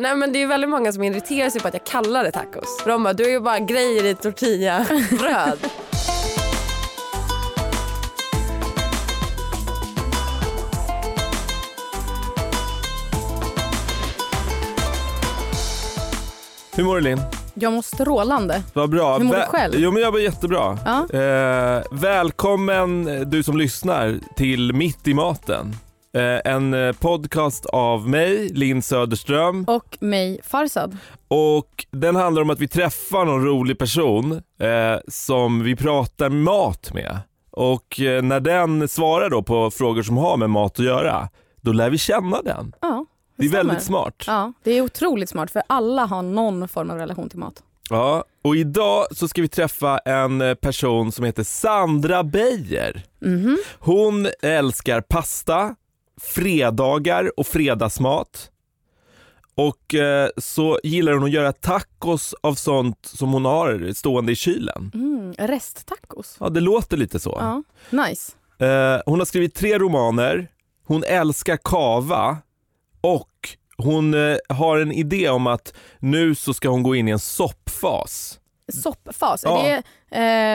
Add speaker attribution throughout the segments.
Speaker 1: Nej men det är ju väldigt många som irriterar sig på att jag kallar det tacos. För De bara, du är ju bara grejer i tortillabröd.
Speaker 2: Hur mår du Linn?
Speaker 3: Jag mår strålande.
Speaker 2: Vad bra.
Speaker 3: Hur mår du
Speaker 2: Vä-
Speaker 3: själv?
Speaker 2: Jo men jag mår jättebra.
Speaker 3: Ja.
Speaker 2: Eh, välkommen eh, du som lyssnar till Mitt i maten. Eh, en eh, podcast av mig, Linn Söderström.
Speaker 3: Och mig Farsad.
Speaker 2: Och den handlar om att vi träffar någon rolig person eh, som vi pratar mat med. Och eh, när den svarar då på frågor som har med mat att göra, då lär vi känna den.
Speaker 3: Ja,
Speaker 2: Det är
Speaker 3: stämmer.
Speaker 2: väldigt smart.
Speaker 3: ja, det är otroligt smart för alla har någon form av relation till mat.
Speaker 2: Ja, och idag så ska vi träffa en eh, person som heter Sandra Beijer.
Speaker 3: Mhm.
Speaker 2: Hon älskar pasta, fredagar och fredagsmat. Och eh, så gillar hon att göra tacos av sånt som hon har stående i kylen.
Speaker 3: Mm. Resttacos.
Speaker 2: Ja, det låter lite så.
Speaker 3: Ja. Nice.
Speaker 2: Eh, hon har skrivit tre romaner, hon älskar kava och hon eh, har en idé om att nu så ska hon gå in i en soppfas.
Speaker 3: Soppfas,
Speaker 2: Ja.
Speaker 3: är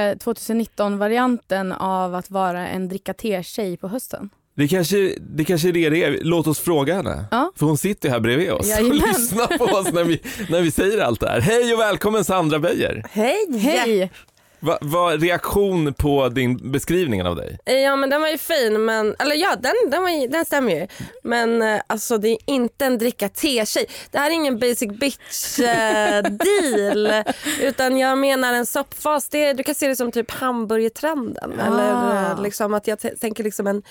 Speaker 3: det eh, 2019-varianten av att vara en dricka te-tjej på hösten?
Speaker 2: Det kanske, det kanske är det det är. Låt oss fråga henne.
Speaker 3: Ja.
Speaker 2: För hon sitter ju här bredvid oss och
Speaker 3: Jajamän.
Speaker 2: lyssnar på oss när vi, när vi säger allt det här. Hej och välkommen Sandra Beijer.
Speaker 1: Hej!
Speaker 3: Hej!
Speaker 2: Va- Vad reaktion på din beskrivning av dig?
Speaker 1: Eh, Ja men den var ju fin men, eller ja den, den, var ju, den stämmer ju. Men eh, alltså det är inte en dricka te-tjej. Det här är ingen basic bitch eh, deal. Utan jag menar en soppfas, det, är- du kan se det som typ hamburgertrenden. Eller eh, liksom att jag t- tänker liksom en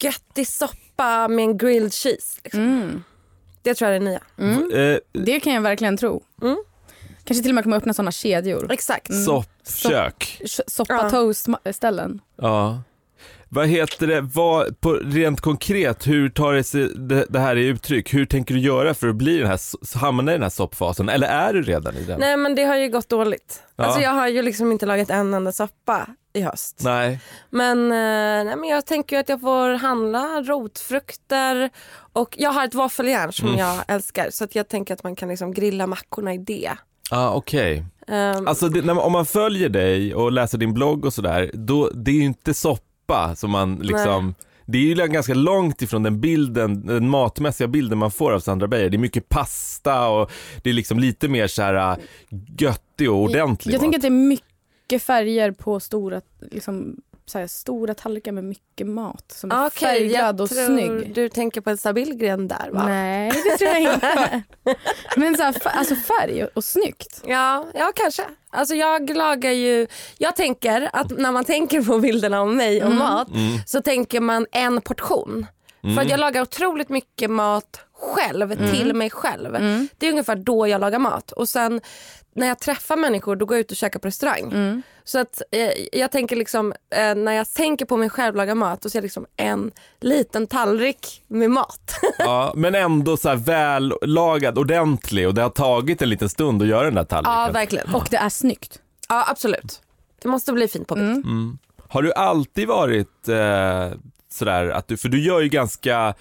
Speaker 1: göttig soppa med en grilled cheese. Liksom.
Speaker 3: Mm.
Speaker 1: Det tror jag är det nya.
Speaker 3: Mm.
Speaker 2: Eh,
Speaker 3: Det kan jag verkligen tro.
Speaker 1: Mm.
Speaker 3: Kanske till och med kommer öppna sådana kedjor.
Speaker 1: Exakt.
Speaker 2: Soppkök.
Speaker 3: S- Soppa
Speaker 1: Ja.
Speaker 3: toast-ställen.
Speaker 2: Ja. Vad heter det, vad, på, rent konkret, hur tar det, sig, det, det här i uttryck? Hur tänker du göra för att bli den här, so- hamna i den här soppfasen? Eller är du redan i den?
Speaker 1: Nej men det har ju gått dåligt.
Speaker 2: Ja.
Speaker 1: Alltså jag har ju liksom inte lagat en enda soppa i höst.
Speaker 2: Nej.
Speaker 1: Men, eh, nej, men jag tänker ju att jag får handla rotfrukter och jag har ett våffeljärn som
Speaker 2: Mm.
Speaker 1: jag älskar så att jag tänker att man kan liksom grilla mackorna i det.
Speaker 2: Ah, Okej.
Speaker 1: Ehm,
Speaker 2: Alltså det, när man, om man följer dig och läser din blogg och sådär, då, det är ju inte soppa som man liksom Det är ju ganska långt ifrån den bilden, den matmässiga bilden man får av Sandra Beijer. Det är mycket pasta och det är liksom lite mer så här äh, göttig och ordentlig
Speaker 3: Jag
Speaker 2: mat.
Speaker 3: tänker att det är mycket färger på stora, liksom, så här, stora tallrikar med mycket mat som är
Speaker 1: Ah, okej,
Speaker 3: Alltså, färgglad
Speaker 1: jag
Speaker 3: och
Speaker 1: tror
Speaker 3: snygg.
Speaker 1: Du tänker på Elsa Billgren där va?
Speaker 3: Nej, det tror jag inte. Men så här, fa- alltså färg och, och snyggt.
Speaker 1: Ja, ja kanske. Alltså jag lagar ju, jag tänker att när man tänker på bilderna om mig och mat
Speaker 2: Mm.
Speaker 1: så tänker man en portion. För att jag lagar otroligt mycket mat själv, till mig själv. Det är ungefär då jag lagar mat. Och sen när jag träffar människor då går jag ut och käkar på restaurang. Så att eh, jag tänker liksom, eh, när jag tänker på mig själv laga mat då ser jag liksom en liten tallrik med mat.
Speaker 2: Ja, men ändå så här vällagad, ordentlig och det har tagit en liten stund att göra den där
Speaker 1: ja,
Speaker 2: tallriken.
Speaker 1: verkligen. Och,
Speaker 3: Och det är snyggt.
Speaker 1: ja, absolut. Det måste bli fint på bild.
Speaker 3: Mm.
Speaker 2: mm. Har du alltid varit eh, sådär att du, för du gör ju ganska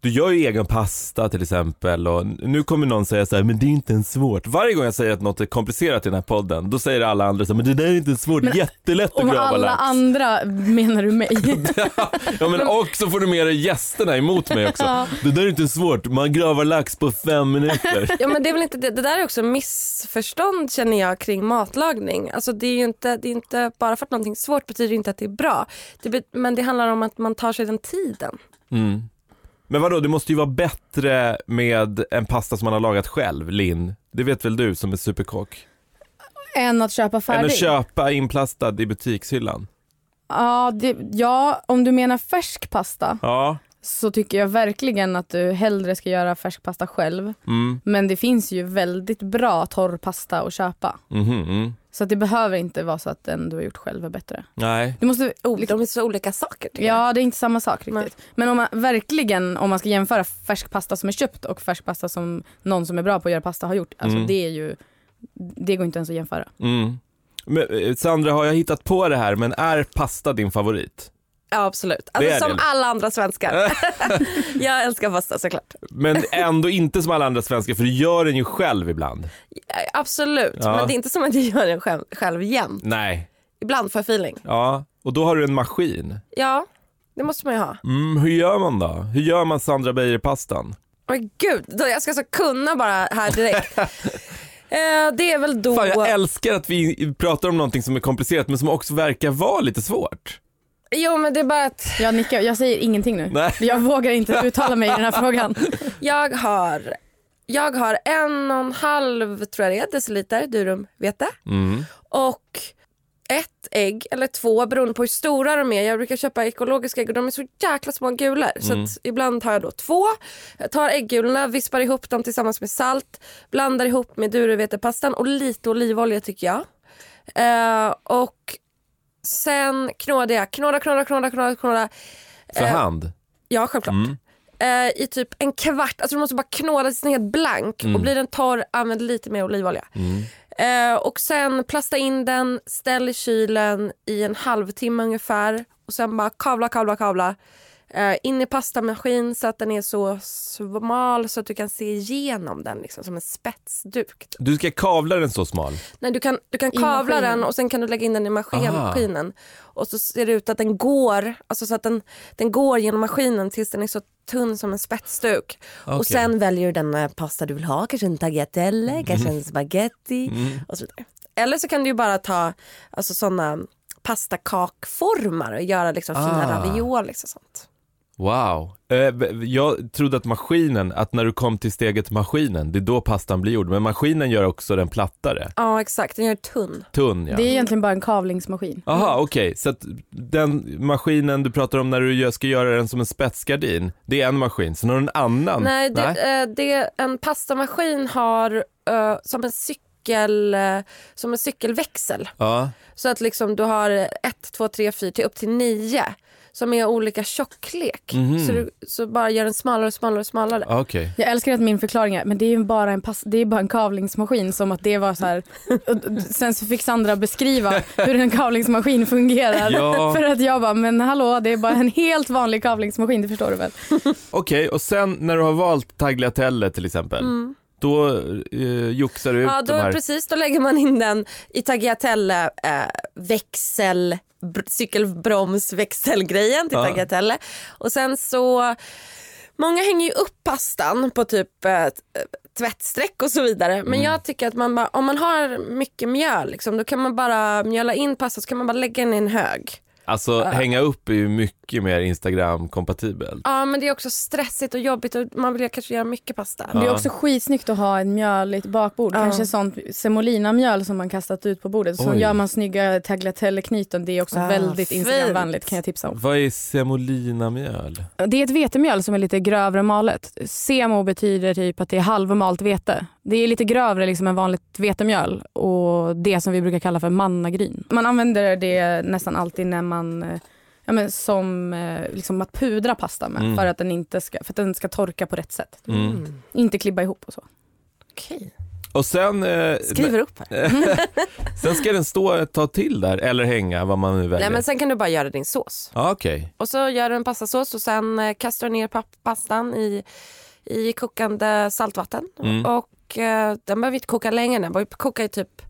Speaker 2: du gör ju egen pasta till exempel och nu kommer någon säga så här, men det är inte ens svårt. Varje gång jag säger att något är komplicerat i den här podden, då säger alla andra så här, men det där är inte ens svårt, det är jättelätt att
Speaker 3: Om
Speaker 2: grava
Speaker 3: alla
Speaker 2: lax.
Speaker 3: andra menar du mig.
Speaker 2: ja, men och så får du med dig gästerna emot mig också. Det där är inte ens svårt, man gravar lax på fem minuter.
Speaker 1: Ja, men det, är väl inte, det, det där är också missförstånd känner jag kring matlagning. Alltså, det är ju inte, det är inte, bara för att någonting är svårt betyder det inte att det är bra. Det, bet- men det handlar om att man tar sig den tiden.
Speaker 2: Mm. Men vadå, det måste ju vara bättre med en pasta som man har lagat själv, Linn. Det vet väl du som är superkock?
Speaker 3: Än att köpa
Speaker 2: Än
Speaker 3: färdig.
Speaker 2: att köpa inplastad i butikshyllan.
Speaker 3: ja, det, ja, om du menar färsk pasta
Speaker 2: Ja.
Speaker 3: så tycker jag verkligen att du hellre ska göra färsk pasta själv.
Speaker 2: Mm.
Speaker 3: Men det finns ju väldigt bra torr pasta att köpa.
Speaker 2: Mhm, mm.
Speaker 3: Så att det behöver inte vara så att den du har gjort själv är bättre.
Speaker 2: Nej.
Speaker 3: Du måste,
Speaker 1: Oh, De är så olika saker. tycker jag.
Speaker 3: ja, det är inte samma sak riktigt.
Speaker 1: Nej.
Speaker 3: Men om man, verkligen, om man ska jämföra färsk pasta som är köpt och färsk pasta som någon som är bra på att göra pasta har gjort. Alltså
Speaker 2: Mm.
Speaker 3: det är ju, det går inte ens att jämföra.
Speaker 2: Mm. Men, eh, Sandra, har jag hittat på det här, men är pasta din favorit?
Speaker 1: Ja, absolut. Alltså,
Speaker 2: är
Speaker 1: som
Speaker 2: det.
Speaker 1: alla andra svenskar. jag älskar pasta såklart.
Speaker 2: Men ändå inte som alla andra svenskar för du gör den ju själv ibland.
Speaker 1: Eh, Absolut,
Speaker 2: Ja.
Speaker 1: men det är inte som att jag gör den själv, själv jämt.
Speaker 2: Nej,
Speaker 1: Ibland får jag feeling.
Speaker 2: ja. Och då har du en maskin.
Speaker 1: Ja, det måste man ju ha.
Speaker 2: Mm, hur gör man då? Hur gör man Sandra Beijer-pastan?
Speaker 1: Åh gud, då jag ska alltså kunna bara här direkt. Eh, det är väl då...
Speaker 2: Fan, jag älskar att vi pratar om någonting som är komplicerat men som också verkar vara lite svårt.
Speaker 1: Jo men det är bara att
Speaker 3: Jag nickar, jag säger ingenting nu.
Speaker 2: Nej.
Speaker 3: Jag vågar inte uttala mig i den här frågan.
Speaker 1: jag har, jag har en och en halv tror jag det är, deciliter durumvete
Speaker 2: Mm.
Speaker 1: och ett ägg eller två beroende på hur stora de är. Jag brukar köpa ekologiska ägg och de är så jäkla små gulor. Så att ibland tar jag då två, jag tar äggulorna, vispar ihop dem tillsammans med salt, blandar ihop med durumvetepastan och lite olivolja tycker jag. Eh, och sen knådar jag, knåda, knåda, knåda, knåda, knåda.
Speaker 2: För hand.
Speaker 1: Ja, självklart. Eh, I typ en kvart, alltså du måste bara knåda tills den är helt blank och blir den torr använd lite mer olivolja. Eh, och sen plasta in den, ställ i kylen i en halvtimme ungefär och sen bara kavla, kavla, kavla. Eh, in i pastamaskin så att den är så smal så att du kan se igenom den liksom, som en spetsduk.
Speaker 2: Du ska kavla den så smal.
Speaker 1: Nej, du kan, du kan
Speaker 3: I
Speaker 1: kavla
Speaker 3: maskinen.
Speaker 1: den och sen kan du lägga in den i maskin,
Speaker 2: Aha.
Speaker 1: maskinen. Och så ser det ut att den går alltså så att den, den går genom maskinen tills den är så tunn som en spetsduk.
Speaker 2: Okej.
Speaker 1: Och sen väljer du den eh, pasta du vill ha, kanske en tagliatelle, kanske en spaghetti och så vidare. Eller så kan du ju bara ta alltså, såna pastakakformar och göra liksom, fina
Speaker 2: Ah.
Speaker 1: ravioli och sånt.
Speaker 2: Wow. Eh, b- Jag trodde att maskinen, att när du kom till steget maskinen, det är då pastan blir gjord. Men maskinen gör också den plattare.
Speaker 1: Ja exakt, den gör tunn.
Speaker 2: Tunn ja.
Speaker 3: Det är egentligen bara en kavlingsmaskin.
Speaker 2: Aha, okej. Så att den maskinen du pratar om när du gör- ska göra den som en spetsgardin, det är en maskin. Sen har du en annan.
Speaker 1: Nej, det, Eh, det en pastamaskin har eh, som en cykel eh, som en cykelväxel.
Speaker 2: Ja.
Speaker 1: Så att liksom du har ett, två, tre, fyra till upp till nio som är olika tjocklek.
Speaker 2: Mhm.
Speaker 1: Så, du, så bara gör den smalare och smalare och smalare.
Speaker 2: Okej.
Speaker 3: Jag älskar att min förklaring är, men det är ju bara en, pass, det är bara en kavlingsmaskin som att det var så här. och Sen så fick Sandra beskriva hur en kavlingsmaskin fungerar.
Speaker 2: Ja.
Speaker 3: För att jag bara, men hallå det är bara en helt vanlig kavlingsmaskin, det förstår du väl?
Speaker 2: Okej, och sen när du har valt tagliatelle till exempel, då eh, joxar du ut
Speaker 1: Mm. Ja,
Speaker 2: de
Speaker 1: då,
Speaker 2: här.
Speaker 1: precis, då lägger man in den i tagliatelle eh, växel, br- cykelbromsväxelgrejen till
Speaker 2: Ja.
Speaker 1: tagliatelle. Och sen så, många hänger ju upp pastan på typ eh, t- eh, tvättsträck och så vidare.
Speaker 2: Mm.
Speaker 1: Men jag tycker att man bara, om man har mycket mjöl liksom, då kan man bara mjöla in pastan så kan man bara lägga den i en hög.
Speaker 2: Alltså hänga upp är ju mycket mer Instagram-kompatibelt.
Speaker 1: Ja men det är också stressigt och jobbigt och man vill ju kanske göra mycket pasta.
Speaker 3: Det
Speaker 1: Ja.
Speaker 3: är också skitsnyggt att ha ett mjöligt bakbord. Kanske sånt semolina-mjöl som man kastat ut på bordet. Så
Speaker 2: Oj.
Speaker 3: gör man snygga tagliatelle-knyten. Det är också
Speaker 1: Ah,
Speaker 3: väldigt
Speaker 1: fint.
Speaker 3: Instagram-vänligt kan jag tipsa om.
Speaker 2: Vad är semolina-mjöl?
Speaker 3: Det är ett vetemjöl som är lite grövre malet. Semo betyder typ att det är halvmalt vete. Det är lite grövre liksom än vanligt vetemjöl och det som vi brukar kalla för mannagryn. Man använder det nästan alltid när man eh, ja, men som eh, liksom att pudra pasta med
Speaker 2: Mm.
Speaker 3: för, att den inte ska, för att den ska torka på rätt sätt.
Speaker 2: Mm.
Speaker 3: Inte klibba ihop och så.
Speaker 1: Okej,
Speaker 2: Och sen, eh,
Speaker 1: skriver upp här.
Speaker 2: sen ska den stå ett tag till där, eller hänga, vad man nu väljer.
Speaker 1: Nej men sen kan du bara göra din sås.
Speaker 2: Ja, Okej,
Speaker 1: Och så gör du en pastasås och sen eh, kastar du ner pap- pastan i, i kokande saltvatten.
Speaker 2: Mm.
Speaker 1: Och eh, den behöver inte koka länge, den behöver koka i typ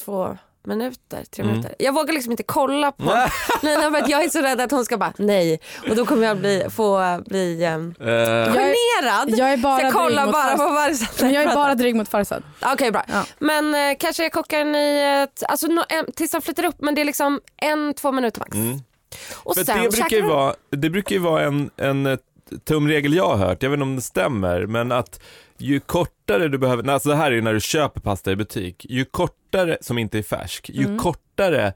Speaker 1: två minuter, tre
Speaker 2: Mm.
Speaker 1: minuter. Jag vågar liksom inte kolla på Lina för att jag är så rädd att hon ska bara nej och då kommer jag bli, få bli eh,
Speaker 2: Eh,
Speaker 3: Jag är-
Speaker 1: generad.
Speaker 3: Jag är bara
Speaker 1: jag kollar
Speaker 3: dryg mot
Speaker 1: bara
Speaker 3: Farzad.
Speaker 1: på varje
Speaker 3: Men jag är bara dryg mot Farzad.
Speaker 1: Okej bra.
Speaker 3: Ja.
Speaker 1: Men eh, kanske jag kokar den i ett, alltså, nå- en, tills den flyter upp men det är liksom en, två minuter max.
Speaker 2: Mm.
Speaker 1: Och
Speaker 2: För
Speaker 1: sen
Speaker 2: det, brukar
Speaker 1: käkar
Speaker 2: ju
Speaker 1: du-
Speaker 2: vara, det brukar ju vara en, en eh, tumregel jag har hört, jag vet inte om det stämmer, men att ju kortare du behöver, alltså det här är ju när du köper pasta i butik, ju kortare, som inte är färsk, ju
Speaker 1: Mm.
Speaker 2: kortare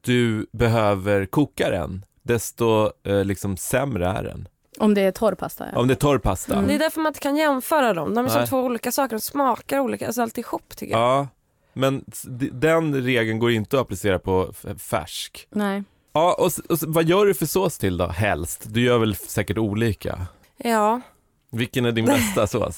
Speaker 2: du behöver koka den, desto eh, liksom sämre är den.
Speaker 3: Om det är torr pasta. Ja.
Speaker 2: Om det är torr pasta.
Speaker 1: Det är därför man inte kan jämföra dem. De är som
Speaker 2: Nej.
Speaker 1: två olika saker, de smakar olika, alltså alltihop tycker jag.
Speaker 2: Ja, men s- d- den regeln går inte att applicera på f- färsk.
Speaker 3: Nej.
Speaker 2: Ja, och, s- och s- vad gör du för sås till då, helst? Du gör väl f- säkert olika?
Speaker 1: Ja.
Speaker 2: Vilken är din bästa sås?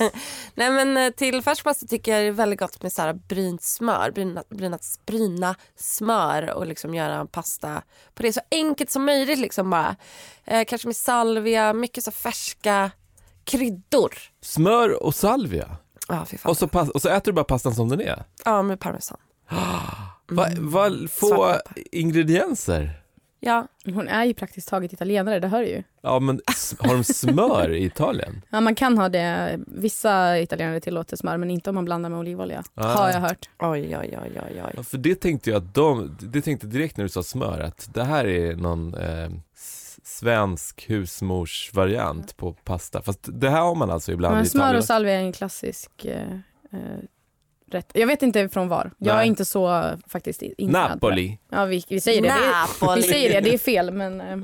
Speaker 1: Nej men eh, till färskpasta tycker jag det är väldigt gott med så här brynt smör, bryna, bryna, bryna smör och liksom göra en pasta på det så enkelt som möjligt liksom bara. Eh, kanske med salvia, mycket så färska kryddor.
Speaker 2: Smör och salvia.
Speaker 1: Ja fy fan.
Speaker 2: Och så, pas- och så äter du bara pastan som den
Speaker 3: Mm.
Speaker 2: är.
Speaker 1: Ja med parmesan.
Speaker 2: Va, va, få
Speaker 1: Svartpeppar.
Speaker 2: ingredienser.
Speaker 1: Ja.
Speaker 3: Hon är ju praktiskt taget italienare, det hör du ju.
Speaker 2: Ja, men s- har de smör i Italien?
Speaker 3: Ja, man kan ha det. Vissa italienare tillåter smör men inte om man blandar med olivolja.
Speaker 2: Ah.
Speaker 3: Har jag hört.
Speaker 1: Oj oj oj oj oj.
Speaker 2: Ja, för det tänkte jag att de, det tänkte jag direkt när du sa smör att det här är någon eh, s- svensk husmorsvariant på pasta. Fast det här har man alltså ibland
Speaker 3: Mm. Men
Speaker 2: i
Speaker 3: smör
Speaker 2: Italien.
Speaker 3: och salvia är en klassisk eh, eh, rätt. Jag vet inte från var. Jag
Speaker 2: Nej.
Speaker 3: är inte så eh, faktiskt i- insatt på det.
Speaker 2: Napoli.
Speaker 3: Ja, vi, vi säger det. det.
Speaker 1: Napoli.
Speaker 3: Vi säger det, det är fel men eh,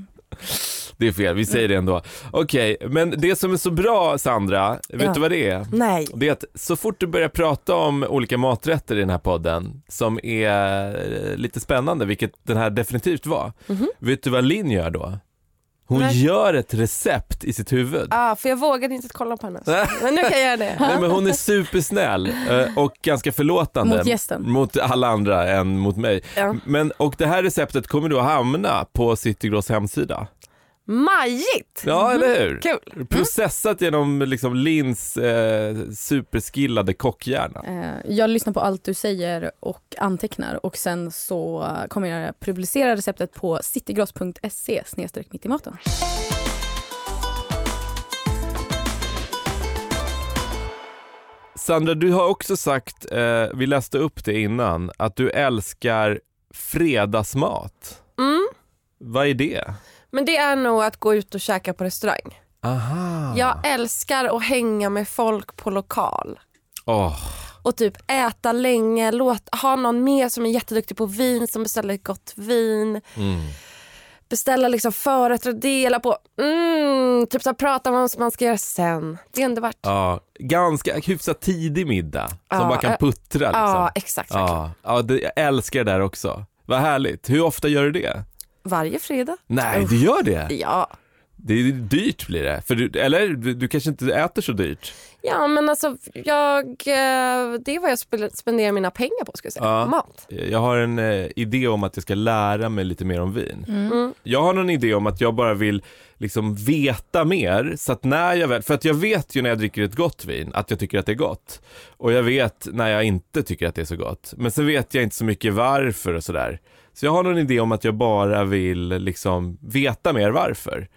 Speaker 2: Det är fel, vi säger det ändå. Okej, men det som är så bra Sandra, vet
Speaker 1: Ja.
Speaker 2: du vad det är?
Speaker 1: Nej.
Speaker 2: Det är att så fort du börjar prata om olika maträtter i den här podden, som är eh, lite spännande, vilket den här definitivt var.
Speaker 3: Mhm.
Speaker 2: Vet du vad Linn gör då? Hon
Speaker 1: Nej.
Speaker 2: gör ett recept i sitt huvud.
Speaker 1: Ja för jag vågade inte kolla på henne. Men nu kan jag göra det.
Speaker 2: Nej, men hon är supersnäll eh, och ganska förlåtande
Speaker 3: mot gästen.
Speaker 2: mot alla andra än mot mig.
Speaker 1: Ja.
Speaker 2: Men, och det här receptet kommer då hamna på Citygross hemsida.
Speaker 1: Majigt!
Speaker 2: Ja, eller hur?
Speaker 1: Mm, Kul.
Speaker 2: Processat genom liksom Lins eh, superskillade kockhjärna.
Speaker 3: Eh, jag lyssnar på allt du säger och antecknar och sen så eh, kommer jag publicera receptet på citygross.se snedstreck mitt i maten.
Speaker 2: Sandra, du har också sagt, eh, vi läste upp det innan, att du älskar fredagsmat.
Speaker 1: Mm.
Speaker 2: Vad är det?
Speaker 1: Men det är nog att gå ut och käka på restaurang.
Speaker 3: Ah.
Speaker 2: Aha.
Speaker 1: Jag älskar att hänga med folk på lokal.
Speaker 2: Åh,
Speaker 1: och typ äta länge, låt, ha någon med som är jätteduktig på vin som beställer ett gott vin.
Speaker 2: mm.
Speaker 1: Beställa liksom förrätt och dela på. Mm, typ så här, prata om vad man ska göra sen. Det är underbart. Ja,
Speaker 2: Ja, ganska hyfsat tidig middag som
Speaker 1: Ja,
Speaker 2: bara kan
Speaker 1: eh,
Speaker 2: puttra. Liksom.
Speaker 1: exakt. verkligen.
Speaker 2: ja, ja det, jag älskar det där också. Vad härligt. Hur ofta gör du det?
Speaker 1: Varje fredag.
Speaker 2: Nej, du gör det.
Speaker 1: Ja.
Speaker 2: Det är dyrt blir det. För du, eller du, du kanske inte äter så dyrt.
Speaker 1: ja, men alltså jag, eh, det är vad jag spel- spenderar mina pengar på. Ska jag säga.
Speaker 2: Ja.
Speaker 1: Mat.
Speaker 2: Jag har en eh, idé om att jag ska lära mig lite mer om vin.
Speaker 1: Mm.
Speaker 2: Jag har någon idé om att jag bara vill liksom veta mer så att när jag väl, för att jag vet ju när jag dricker ett gott vin att jag tycker att det är gott och jag vet när jag inte tycker att det är så gott men sen vet jag inte så mycket varför och sådär. Så jag har någon idé om att jag bara vill liksom veta mer varför.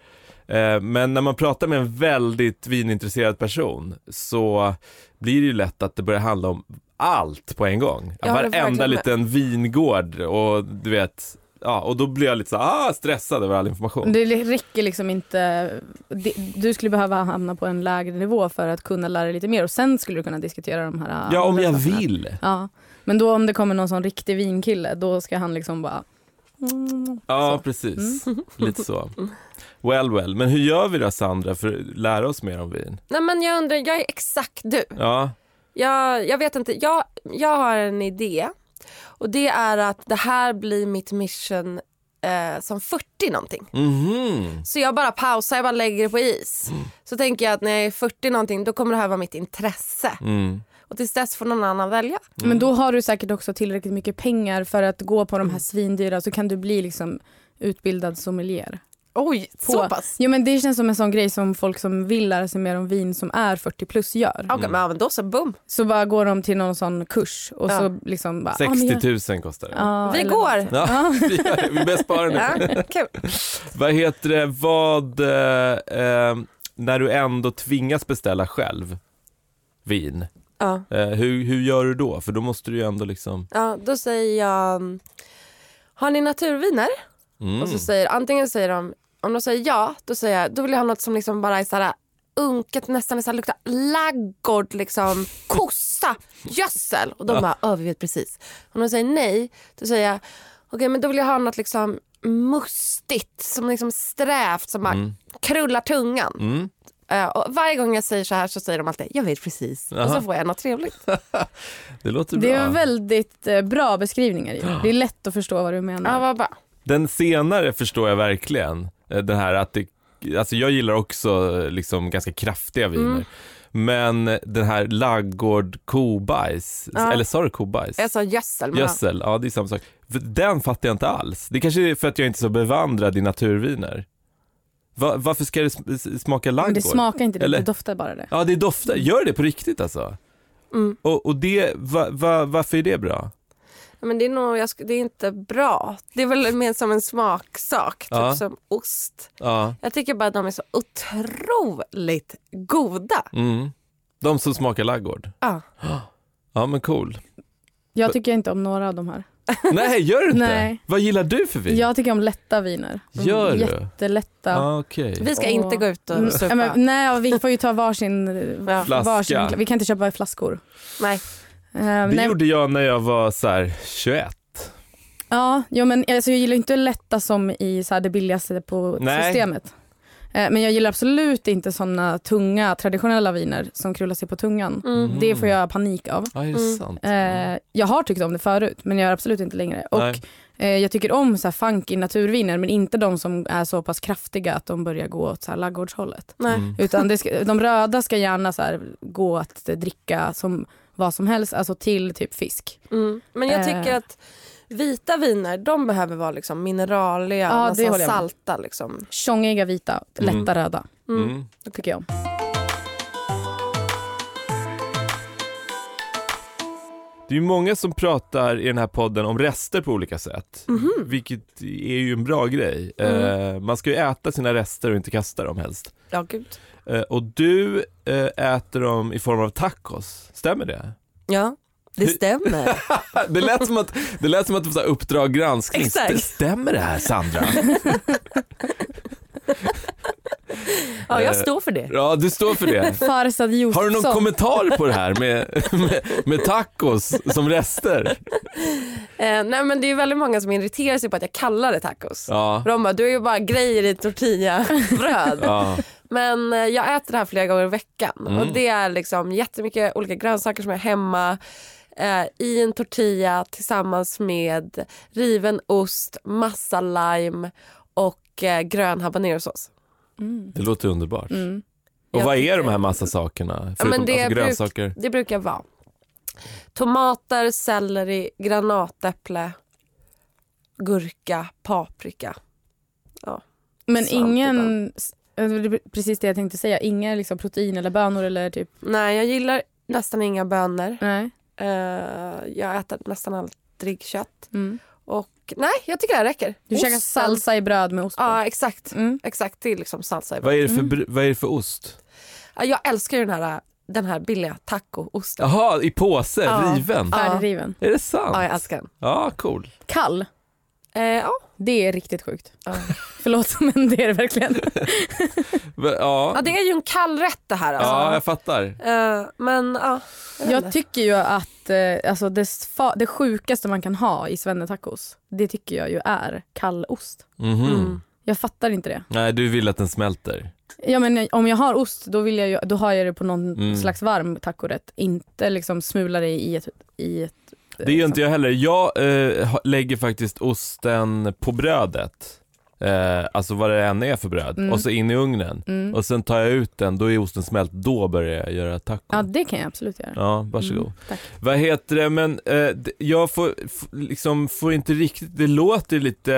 Speaker 2: Eh, Men när man pratar med en väldigt vinintresserad person så blir det ju lätt att det börjar handla om allt på en gång.
Speaker 1: Jag håller
Speaker 2: Varenda
Speaker 1: verkligen med.
Speaker 2: liten vingård och du vet, ja, och då blir jag lite så här, ah, stressad över all information.
Speaker 3: Det räcker liksom inte. det- Du skulle behöva hamna på en lägre nivå för att kunna lära dig lite mer och sen skulle du kunna diskutera de här.
Speaker 2: ja, om
Speaker 3: andra
Speaker 2: jag
Speaker 3: sakerna.
Speaker 2: vill.
Speaker 3: Ja. Men då om det kommer någon sån riktig vinkille då ska han liksom bara mm.
Speaker 2: Ja,
Speaker 3: Så.
Speaker 2: precis. Lite så. Well, well. Men hur gör vi då, Sandra, för att lära oss mer om vin?
Speaker 1: Nej, men jag undrar, jag är exakt du.
Speaker 2: Ja,
Speaker 1: Jag, jag vet inte. Jag, jag har en idé. Och Det är att det här blir mitt mission eh, som 40 någonting.
Speaker 2: mhm.
Speaker 1: Så jag bara pausar, jag bara lägger det på is. Så tänker jag att när jag är 40 någonting då kommer det här vara mitt intresse.
Speaker 2: Mm.
Speaker 1: Och tills dess får någon annan välja.
Speaker 3: Men då har du säkert också tillräckligt mycket pengar för att gå på de här svindyra så kan du bli liksom utbildad sommelier.
Speaker 1: Oj,
Speaker 3: så
Speaker 1: pass?
Speaker 3: Jo men det känns som en sån grej som folk som vill lära sig mer om vin som är 40 plus gör.
Speaker 1: Okej, men, ja, men då så, boom.
Speaker 3: Så bara går de till någon sån kurs och
Speaker 1: Ja.
Speaker 3: så liksom bara... ah, men jag-
Speaker 2: 60 000 kostar det.
Speaker 3: Ja,
Speaker 1: Vi
Speaker 3: eller-
Speaker 1: går.
Speaker 2: Ja, vi, gör det. vi börjar spara nu.
Speaker 1: Ja, kul.
Speaker 2: Vad heter det, vad, eh, eh, när du ändå tvingas beställa själv vin,
Speaker 1: Ja,
Speaker 2: eh, hur, hur gör du då? För då måste du ju ändå liksom,
Speaker 1: ja, då säger jag, har ni naturviner?
Speaker 2: mm.
Speaker 1: Och så säger, antingen säger de, om de säger ja, då säger jag, då vill jag ha något som liksom bara är såhär unket, nästan är såhär, luktar laggård, liksom, kossa, gödsel. Och de bara, ja vi vet precis. Om de säger nej, då säger jag, okej men då vill jag ha något liksom mustigt, som liksom strävt, som bara krullar tungan.
Speaker 2: Mm.
Speaker 1: Eh, och varje gång jag säger så här så säger de alltid, jag vet precis. Och
Speaker 2: Aha.
Speaker 1: så får jag något trevligt.
Speaker 2: det låter
Speaker 3: Det
Speaker 2: bra.
Speaker 3: är väldigt eh, bra beskrivningar. Ju. Det är lätt att förstå vad du menar.
Speaker 1: Ja, vad bra.
Speaker 2: Den senare förstår jag verkligen, eh, det här att det alltså jag gillar också liksom ganska kraftiga
Speaker 1: Mm.
Speaker 2: viner. Men den här laggård kobajs,
Speaker 1: Ja.
Speaker 2: eller sa du kobajs?
Speaker 1: Jag sa gödsel. men-
Speaker 2: Gödsel, ja det är samma sak. För Den fattar jag inte alls. Det kanske är för att jag inte är så bevandrad i naturviner. Va, varför ska det sm- s- smaka
Speaker 3: Men
Speaker 2: laggård?
Speaker 3: det smakar inte det,
Speaker 2: Eller-
Speaker 3: det doftar bara det.
Speaker 2: Ja det doftar, gör det på riktigt alltså?
Speaker 1: Mm.
Speaker 2: Och, och det, va, va, varför är det bra?
Speaker 1: Men det är, nog, jag, sk- det är inte bra. Det är väl mer som en smaksak, typ
Speaker 2: Ja.
Speaker 1: som ost.
Speaker 2: Ja.
Speaker 1: Jag tycker bara att de är så otroligt goda.
Speaker 2: Mm. De som smakar laggård.
Speaker 1: Ja.
Speaker 2: Ja men cool.
Speaker 3: Jag tycker inte om några av de här.
Speaker 2: Nej gör du inte?
Speaker 3: Nej.
Speaker 2: Vad gillar du för vin?
Speaker 3: Jag tycker om lätta viner.
Speaker 2: Gör du?
Speaker 3: Jättelätta.
Speaker 2: Ah, Okej.
Speaker 1: Vi ska
Speaker 3: Och-
Speaker 1: inte gå ut
Speaker 3: Mm,
Speaker 1: och supa.
Speaker 3: ja, men, nej, och vi får ju ta varsin,
Speaker 1: Ja.
Speaker 2: Flaska.
Speaker 3: varsin Vi kan inte köpa i flaskor.
Speaker 1: Nej.
Speaker 3: Eh,
Speaker 2: Det
Speaker 3: nej,
Speaker 2: gjorde jag när jag var så här 21.
Speaker 3: ja, jo, men, alltså, jag gillar ju inte lätta som i så här, det billigaste på
Speaker 2: Nej.
Speaker 3: systemet. Eh, men jag gillar absolut inte såna tunga traditionella viner som krullar sig på tungan.
Speaker 1: Mm.
Speaker 3: Det får jag panik av.
Speaker 2: Ja, är det
Speaker 1: Mm.
Speaker 2: sant?
Speaker 3: Eh, jag har tyckt om det förut men jag gör absolut inte längre. Och
Speaker 2: Nej.
Speaker 3: eh, Jag tycker om så här funky naturviner men inte de som är så pass kraftiga att de börjar gå åt så här laggårdshållet.
Speaker 1: Nej.
Speaker 2: Mm.
Speaker 3: Utan det ska, de röda ska gärna så här gå att dricka som vad som helst, alltså till typ fisk.
Speaker 1: Mm. Men jag
Speaker 3: Eh.
Speaker 1: tycker att vita viner de behöver vara liksom mineraliga,
Speaker 3: Ja, det
Speaker 1: nästan
Speaker 3: håller jag med.
Speaker 1: salta. Liksom.
Speaker 3: Tjongiga vita, lätta
Speaker 2: Mm.
Speaker 3: röda.
Speaker 1: Mm.
Speaker 2: Mm.
Speaker 3: Det tycker jag om.
Speaker 2: Det är ju många som pratar i den här podden om rester på olika sätt.
Speaker 1: Mhm.
Speaker 2: Vilket är ju en bra grej.
Speaker 3: Mm.
Speaker 2: Eh, man ska ju äta sina rester och inte kasta dem helst.
Speaker 1: Ja, gud.
Speaker 2: Eh, och du eh, äter dem i form av tacos, stämmer det?
Speaker 1: Ja, det
Speaker 2: Hur-
Speaker 1: stämmer.
Speaker 2: Det lät som att det lät som att det var så här Uppdrag granskning.
Speaker 1: Exakt.
Speaker 2: St- Stämmer det här Sandra?
Speaker 1: Ja, jag
Speaker 2: Eh.
Speaker 1: står för det.
Speaker 2: Ja, du står för det.
Speaker 3: Farsad
Speaker 2: Har du
Speaker 3: Josefsson.
Speaker 2: någon kommentar på det här med, med, med tacos som rester?
Speaker 1: Eh, nej, men det är väldigt många som irriterar sig på att jag kallar det tacos.
Speaker 2: Ja.
Speaker 1: För De bara, du är ju bara grejer i tortillabröd.
Speaker 2: ja.
Speaker 1: Men eh, jag äter det här flera gånger i veckan.
Speaker 2: Mm.
Speaker 1: Och Det är liksom jättemycket olika grönsaker som jag har hemma eh, i en tortilla tillsammans med riven ost, massa lime och eh, grön habanerosås.
Speaker 3: Mm.
Speaker 2: Det låter underbart.
Speaker 3: Mm.
Speaker 2: Och
Speaker 1: Jag
Speaker 2: vad är
Speaker 1: tycker-
Speaker 2: de här massa sakerna?
Speaker 1: Ja, men
Speaker 2: Förutom
Speaker 1: det
Speaker 2: alltså,
Speaker 1: bruk-
Speaker 2: grönsaker?
Speaker 1: Det brukar vara tomater, selleri, granatäpple, gurka, paprika.
Speaker 3: Men
Speaker 1: Sant
Speaker 3: ingen, eh, det är precis det jag tänkte säga, inga liksom protein eller bönor eller typ,
Speaker 1: Nej, jag gillar nästan inga bönor.
Speaker 3: nej.
Speaker 1: Eh, jag äter nästan aldrig kött.
Speaker 3: Mm.
Speaker 1: Och, nej, jag tycker det här räcker.
Speaker 3: Du käkar
Speaker 1: Osten.
Speaker 3: salsa i bröd med ost på.
Speaker 1: Ja, exakt.
Speaker 3: Mm.
Speaker 1: Exakt, det är liksom salsa. i
Speaker 2: Vad är det för, br- vad är det för ost?
Speaker 1: Ja, Jag älskar ju den här, den här billiga tacoosten.
Speaker 2: Jaha, i påse,
Speaker 1: Ja.
Speaker 2: riven.
Speaker 1: Ja.
Speaker 3: Färdigriven.
Speaker 2: Är det sant?
Speaker 1: Ja, jag
Speaker 2: Ja,
Speaker 1: älskar den.
Speaker 2: cool.
Speaker 3: Kall.
Speaker 1: Eh, ja.
Speaker 3: Det är riktigt sjukt.
Speaker 1: Ja.
Speaker 3: Förlåt men det är det verkligen.
Speaker 2: Va- Ja,
Speaker 1: ja, det är ju en kall rätt det här.
Speaker 2: ja
Speaker 1: Alltså.
Speaker 2: jag fattar.
Speaker 1: Eh, men ja, jag vet inte.
Speaker 3: Jag tycker ju att eh, alltså det, fa- det sjukaste man kan ha i svennetacos, det tycker jag ju är kall ost.
Speaker 2: Mhm.
Speaker 1: Mm.
Speaker 3: Jag fattar inte det.
Speaker 2: Nej, du vill att den smälter.
Speaker 3: Ja, men om jag har ost då, vill jag ju, då har jag det på någon
Speaker 2: Mm.
Speaker 3: slags varm tacorätt. Inte liksom smula det i ett... I ett
Speaker 2: Det gör inte jag heller. Jag eh, ha- lägger faktiskt osten på brödet. Eh, alltså vad det än är för bröd.
Speaker 3: Mm.
Speaker 2: Och så in i ugnen.
Speaker 3: Mm.
Speaker 2: Och sen tar jag ut den, då är osten smält. Då börjar jag göra taco.
Speaker 3: Ja det kan jag absolut göra.
Speaker 2: Ja, varsågod.
Speaker 3: Mm, tack.
Speaker 2: Vad heter det, men eh, d- jag får, f- liksom, får inte riktigt, det låter lite,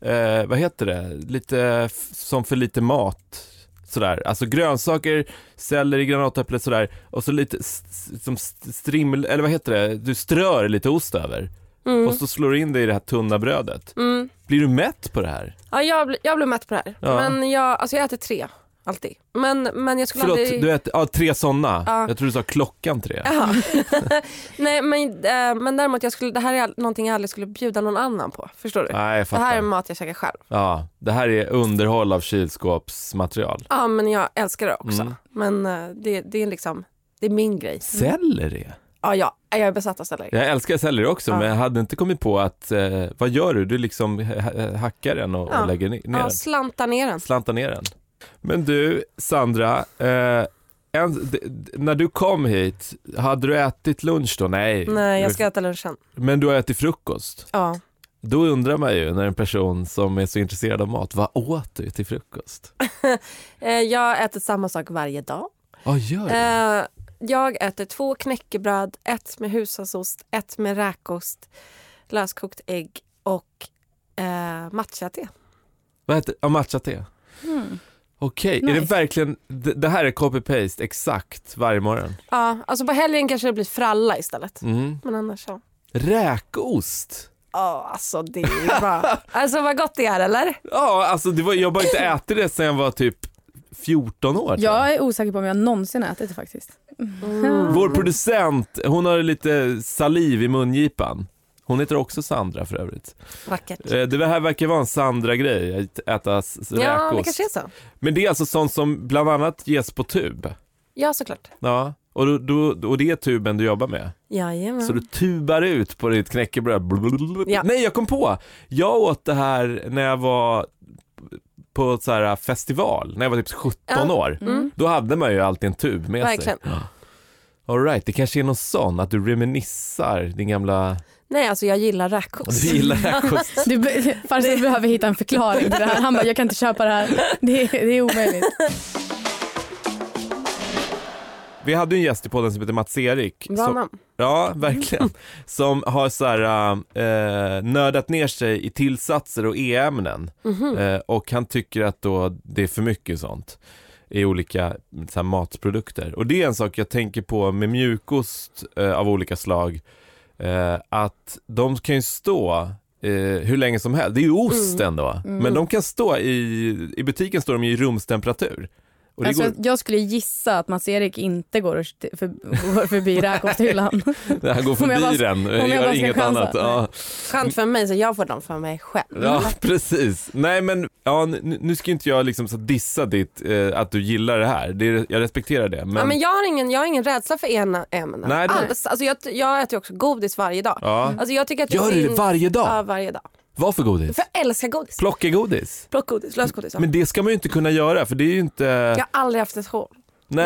Speaker 2: eh, vad heter det, lite f- som för lite mat. Sådär, alltså grönsaker, selleri, granatäpple sådär och så lite s- s- som st- striml, eller vad heter det, du strör lite ost över
Speaker 1: Mm.
Speaker 2: och så slår du in det i det här tunna brödet.
Speaker 1: Mm.
Speaker 2: Blir du mätt på det här?
Speaker 1: Ja, jag, blir- jag blev mätt på det här.
Speaker 2: Ja.
Speaker 1: Men jag, alltså jag äter tre, alltid. Men, men jag skulle
Speaker 2: Förlåt,
Speaker 1: aldrig...
Speaker 2: du äter, ja tre sådana.
Speaker 1: Ja.
Speaker 2: Jag tror du sa klockan tre.
Speaker 1: Jaha. Nej, men, eh, men däremot, jag skulle, det här är all- någonting jag aldrig skulle bjuda någon annan på. Förstår du?
Speaker 2: Nej, jag
Speaker 1: det
Speaker 2: fattar.
Speaker 1: här är mat jag käkar själv.
Speaker 2: Ja, det här är underhåll av kylskåpsmaterial.
Speaker 1: Ja, men jag älskar det också.
Speaker 2: Mm.
Speaker 1: Men eh, det, det är liksom, det är min grej.
Speaker 2: Selleri?
Speaker 1: Ja, ja, jag är besatt av selleri.
Speaker 2: Jag älskar selleri också
Speaker 1: Ja.
Speaker 2: men jag hade inte kommit på att, eh, vad gör du? Du liksom ha- ha- hackar den och,
Speaker 1: Ja.
Speaker 2: och lägger ni- ner
Speaker 1: Ja,
Speaker 2: den,
Speaker 1: slanta ner den.
Speaker 2: slantar ner den. Men du Sandra, eh, en, d- d- när du kom hit, hade du ätit lunch då? Nej.
Speaker 1: Nej, jag ska äta lunchen.
Speaker 2: Men du har ätit frukost?
Speaker 1: Ja.
Speaker 2: Då undrar man ju när en person som är så intresserad av mat, vad åt du till frukost?
Speaker 1: Eh, jag äter samma sak varje dag.
Speaker 2: Ja, gör du?
Speaker 1: Eh, jag äter två knäckebröd, ett med hushållsost, ett med räkost, löskokt ägg och eh, matcha-te.
Speaker 2: Vad heter ja, matcha-te?
Speaker 3: Mm.
Speaker 2: Okej, är det
Speaker 3: Nice.
Speaker 2: verkligen, det det här är copy-paste exakt varje morgon?
Speaker 1: Ja, alltså på helgen kanske det blir fralla istället.
Speaker 2: Mm.
Speaker 1: Men annars så.
Speaker 2: Räkost?
Speaker 1: Ja, alltså det är ju bara... Alltså vad gott det är eller?
Speaker 2: Ja, alltså det var, jag har bara inte ätit det sedan jag var typ 14 år. tror jag.
Speaker 3: Jag är osäker på om jag någonsin ätit det faktiskt.
Speaker 1: Mm.
Speaker 2: Vår producent, hon har lite saliv i mungipan. Hon heter också Sandra för övrigt.
Speaker 1: Vackert.
Speaker 2: Eh, Det här verkar vara en Sandra-grej, att äta s- s-
Speaker 1: Ja, det
Speaker 2: räkost.
Speaker 1: kanske är så.
Speaker 2: Men det är alltså sånt som bland annat ges på tub.
Speaker 1: Ja, såklart.
Speaker 2: Ja. Och, då, då, och det är tuben du jobbar med.
Speaker 1: Jajamän.
Speaker 2: Så du tubar ut på ditt knäckebröd. Blablabla.
Speaker 1: Ja.
Speaker 2: Nej, jag kom på! Jag åt det här när jag var på så här festival, när jag var typ 17
Speaker 1: Ja.
Speaker 2: år.
Speaker 1: Mm.
Speaker 2: Då hade man ju alltid en tub med
Speaker 1: Verkligen.
Speaker 2: sig. All right, det kanske är någon sån, att du reminissar din gamla...
Speaker 1: Nej, alltså jag gillar räkost.
Speaker 2: Du gillar räkost.
Speaker 3: Du be- Farsa behöver hitta en förklaring till det här. Han bara, jag kan inte köpa det här. Det är, det är omöjligt.
Speaker 2: Vi hade ju en gäst i podden som heter Mats Erik.
Speaker 1: Bra
Speaker 2: som-
Speaker 1: namn.
Speaker 2: Ja, verkligen. Som har så här, eh, nördat ner sig i tillsatser och e-ämnen. Eh, och han tycker att då det är för mycket sånt i olika så här, matprodukter. Och det är en sak jag tänker på med mjukost eh, av olika slag. Eh, att de kan ju stå eh, hur länge som helst. Det är ju
Speaker 3: Mm.
Speaker 2: ost ändå. Men de kan stå i, i butiken står de ju i rumstemperatur. Och det
Speaker 3: Alltså,
Speaker 2: går,
Speaker 3: Jag skulle gissa att Mats-Erik inte går, och st- för, går förbi räkosthyllan.
Speaker 2: det här går
Speaker 3: Om jag bara-
Speaker 2: förbi den,
Speaker 3: jag bara
Speaker 2: gör
Speaker 3: ska
Speaker 2: inget
Speaker 3: chansa.
Speaker 2: annat. Ja.
Speaker 1: Skönt för mig, så jag får dem för mig själv.
Speaker 2: Ja, precis. Nej, men ja, nu, nu ska inte jag liksom så dissa ditt, eh, att du gillar det här. Det är, jag respekterar det. Men,
Speaker 1: Ja, men jag, har ingen, jag har ingen rädsla för ena ämnen.
Speaker 2: Nej, det-
Speaker 1: Alls. Alltså, jag, jag äter ju också godis varje dag.
Speaker 2: Ja.
Speaker 1: Alltså, jag tycker att
Speaker 2: Gör du det
Speaker 1: synd-
Speaker 2: varje dag?
Speaker 1: Ja, varje dag.
Speaker 2: Vad för godis?
Speaker 1: För jag älskar godis.
Speaker 2: Plockegodis?
Speaker 1: Plockgodis, lösgodis. ja.
Speaker 2: Men det ska man ju inte kunna göra för det är ju inte...
Speaker 1: Jag har aldrig haft ett hål. Mm.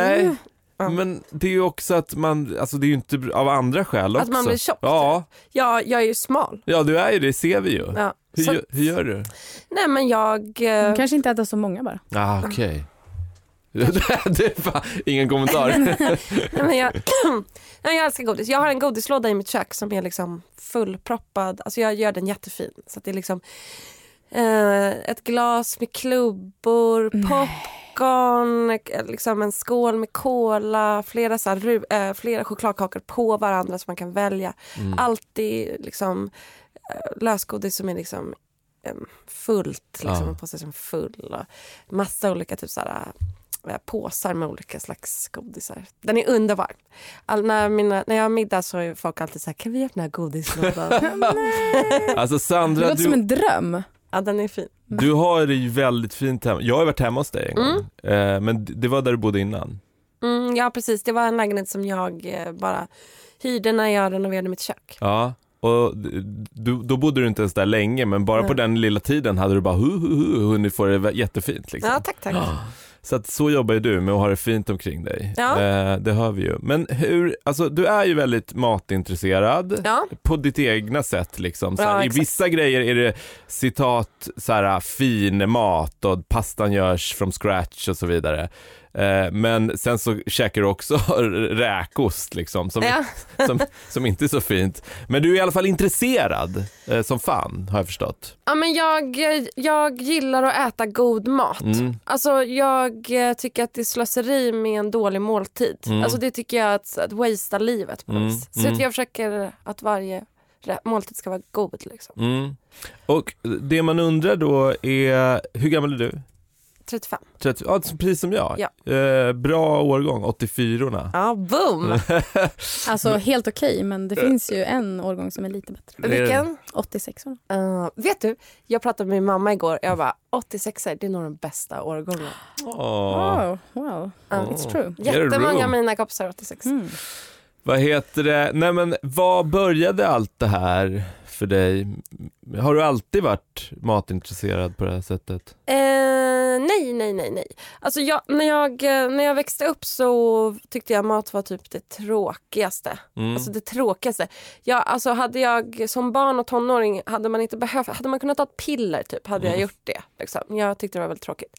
Speaker 2: Nej. Men det är ju också att man, alltså det är ju inte av andra skäl också.
Speaker 1: Att man blir tjock,
Speaker 2: Ja,
Speaker 1: Jag, jag är ju smal.
Speaker 2: ja du är ju det, ser vi ju.
Speaker 1: Ja.
Speaker 2: Hur,
Speaker 1: Så,
Speaker 2: gö- hur gör du?
Speaker 1: nej men jag... eh,
Speaker 3: Kanske inte äta så många bara.
Speaker 2: Ah, okej. det är fan, ingen kommentar.
Speaker 1: Nej, men jag, nej, jag älskar godis. Jag har en godislåda i mitt kök som är liksom fullproppad. Alltså jag gör den jättefin. Så att det är liksom eh, ett glas med klubbor, popcorn, eh, liksom en skål med cola, flera, så här, ru- eh, flera chokladkakor på varandra som man kan välja. Alltid liksom, eh, lösgodis som är liksom eh, fullt, liksom,
Speaker 2: Ja.
Speaker 1: en påse som är full. Och massa olika typ, så här, eh, påsar med olika slags godisar. Den är underbar. All, när, mina, när jag har middag så är folk alltid så här, kan vi öppna godislådan?
Speaker 2: Alltså
Speaker 3: Det
Speaker 2: Sandra,
Speaker 3: låter
Speaker 2: du,
Speaker 3: som en dröm.
Speaker 1: ja, den är fin.
Speaker 2: Du har det ju väldigt fint hemma. Jag har varit hemma hos dig en gång. Eh, Men det var där du bodde innan.
Speaker 1: Mm, ja, precis. Det var en lägenhet som jag eh, bara hyrde när jag renoverade mitt kök.
Speaker 2: Ja. Och d- du, då bodde du inte ens där länge men bara på den lilla tiden hade du bara hu, hu, hu, hunnit få det vä- jättefint. Liksom.
Speaker 1: Ja, tack, tack.
Speaker 2: Så att så jobbar ju du med att ha det fint omkring dig.
Speaker 1: Ja.
Speaker 2: Eh, det hör vi ju. Men hur, alltså du är ju väldigt matintresserad.
Speaker 1: Ja.
Speaker 2: på ditt egna sätt. Liksom. Så här,
Speaker 1: Ja,
Speaker 2: I
Speaker 1: exakt.
Speaker 2: vissa grejer är det citat så här, fin mat och pastan görs from scratch och så vidare. Eh, men sen så käkar du också räkost liksom, som,
Speaker 1: Ja.
Speaker 2: som, som inte är så fint. Men du är i alla fall intresserad eh, som fan har jag förstått.
Speaker 1: Ja, men jag, jag gillar att äta god mat.
Speaker 2: Mm.
Speaker 1: Alltså, jag eh, tycker att det är slöseri med en dålig måltid. Alltså, det tycker jag är att, att wastea livet på något vis. Så att jag försöker att varje rä- måltid ska vara god. Liksom.
Speaker 2: Mm. Och det man undrar då är, hur gammal är du?
Speaker 1: 35.
Speaker 2: 30, ja, precis som jag.
Speaker 1: Ja.
Speaker 2: Eh, bra årgång, 84orna.
Speaker 1: Ja, boom!
Speaker 3: Alltså helt okej, men det finns ju en årgång som är lite bättre.
Speaker 1: Vilken?
Speaker 3: 86 år.
Speaker 1: Eh, vet du, jag pratade med min mamma igår. Jag bara, 86 det är nog den bästa årgången.
Speaker 2: Åh.
Speaker 3: Wow, wow. It's true.
Speaker 2: Get a
Speaker 1: Jättemånga
Speaker 2: room.
Speaker 1: av mina kompisar är 86.
Speaker 3: Mm.
Speaker 2: Vad heter det? Nej men vad började allt det här för dig? Har du alltid varit matintresserad på det här sättet?
Speaker 1: Eh, nej, nej, nej. nej. Alltså jag, när, jag, eh, när jag växte upp så tyckte jag mat var typ det tråkigaste.
Speaker 2: Mm.
Speaker 1: Alltså det tråkigaste. Jag, alltså hade jag som barn och tonåring, hade man inte behövt, hade man kunnat ta ett piller typ, hade jag gjort det. Liksom. Jag tyckte det var väldigt tråkigt.